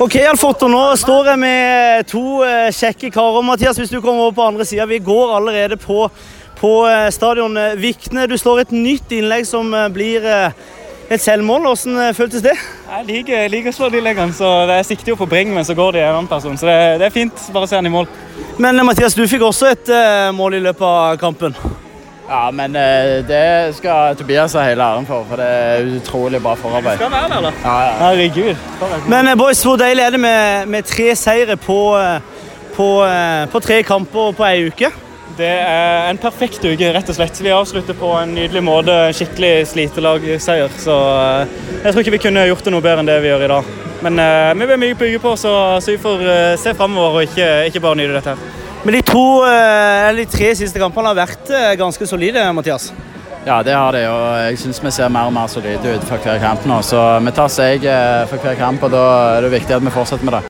OK, Alforto, nå står jeg med to eh, kjekke karer. Mathias, hvis du kommer over på andre sida. Vi går allerede på, på eh, stadion eh, Vikne. Du slår et nytt innlegg som eh, blir eh, et selvmål. Hvordan eh, føltes det? Jeg liker, jeg liker å slå de leggene, så det er siktig å få bring, men så går det i en annen person. Så det, det er fint. Bare se han i mål. Men eh, Mathias, du fikk også et eh, mål i løpet av kampen. Ja, men eh, det skal Tobias ha hele æren for, for det er utrolig bra forarbeid. Skal være der, da. Ja, ja. Herregud. Men eh, boys, hvor deilig er det med, med tre seire på, eh, på, eh, på tre kamper på ei uke? Det er en perfekt uke, rett og slett. Vi avslutter på en nydelig måte. Skikkelig slitelagseier. Så eh, jeg tror ikke vi kunne gjort det noe bedre enn det vi gjør i dag. Men eh, vi blir mye bygge på, så, så vi får eh, se framover og ikke, ikke bare nyte dette her. Men de to, eh, eller de tre siste kampene har vært eh, ganske solide, Mathias. ja, det har det, og jeg syns vi ser mer og mer solide ut for hver kamp nå. Så vi tar seg eh, for hver kamp, og da er det viktig at vi fortsetter med det.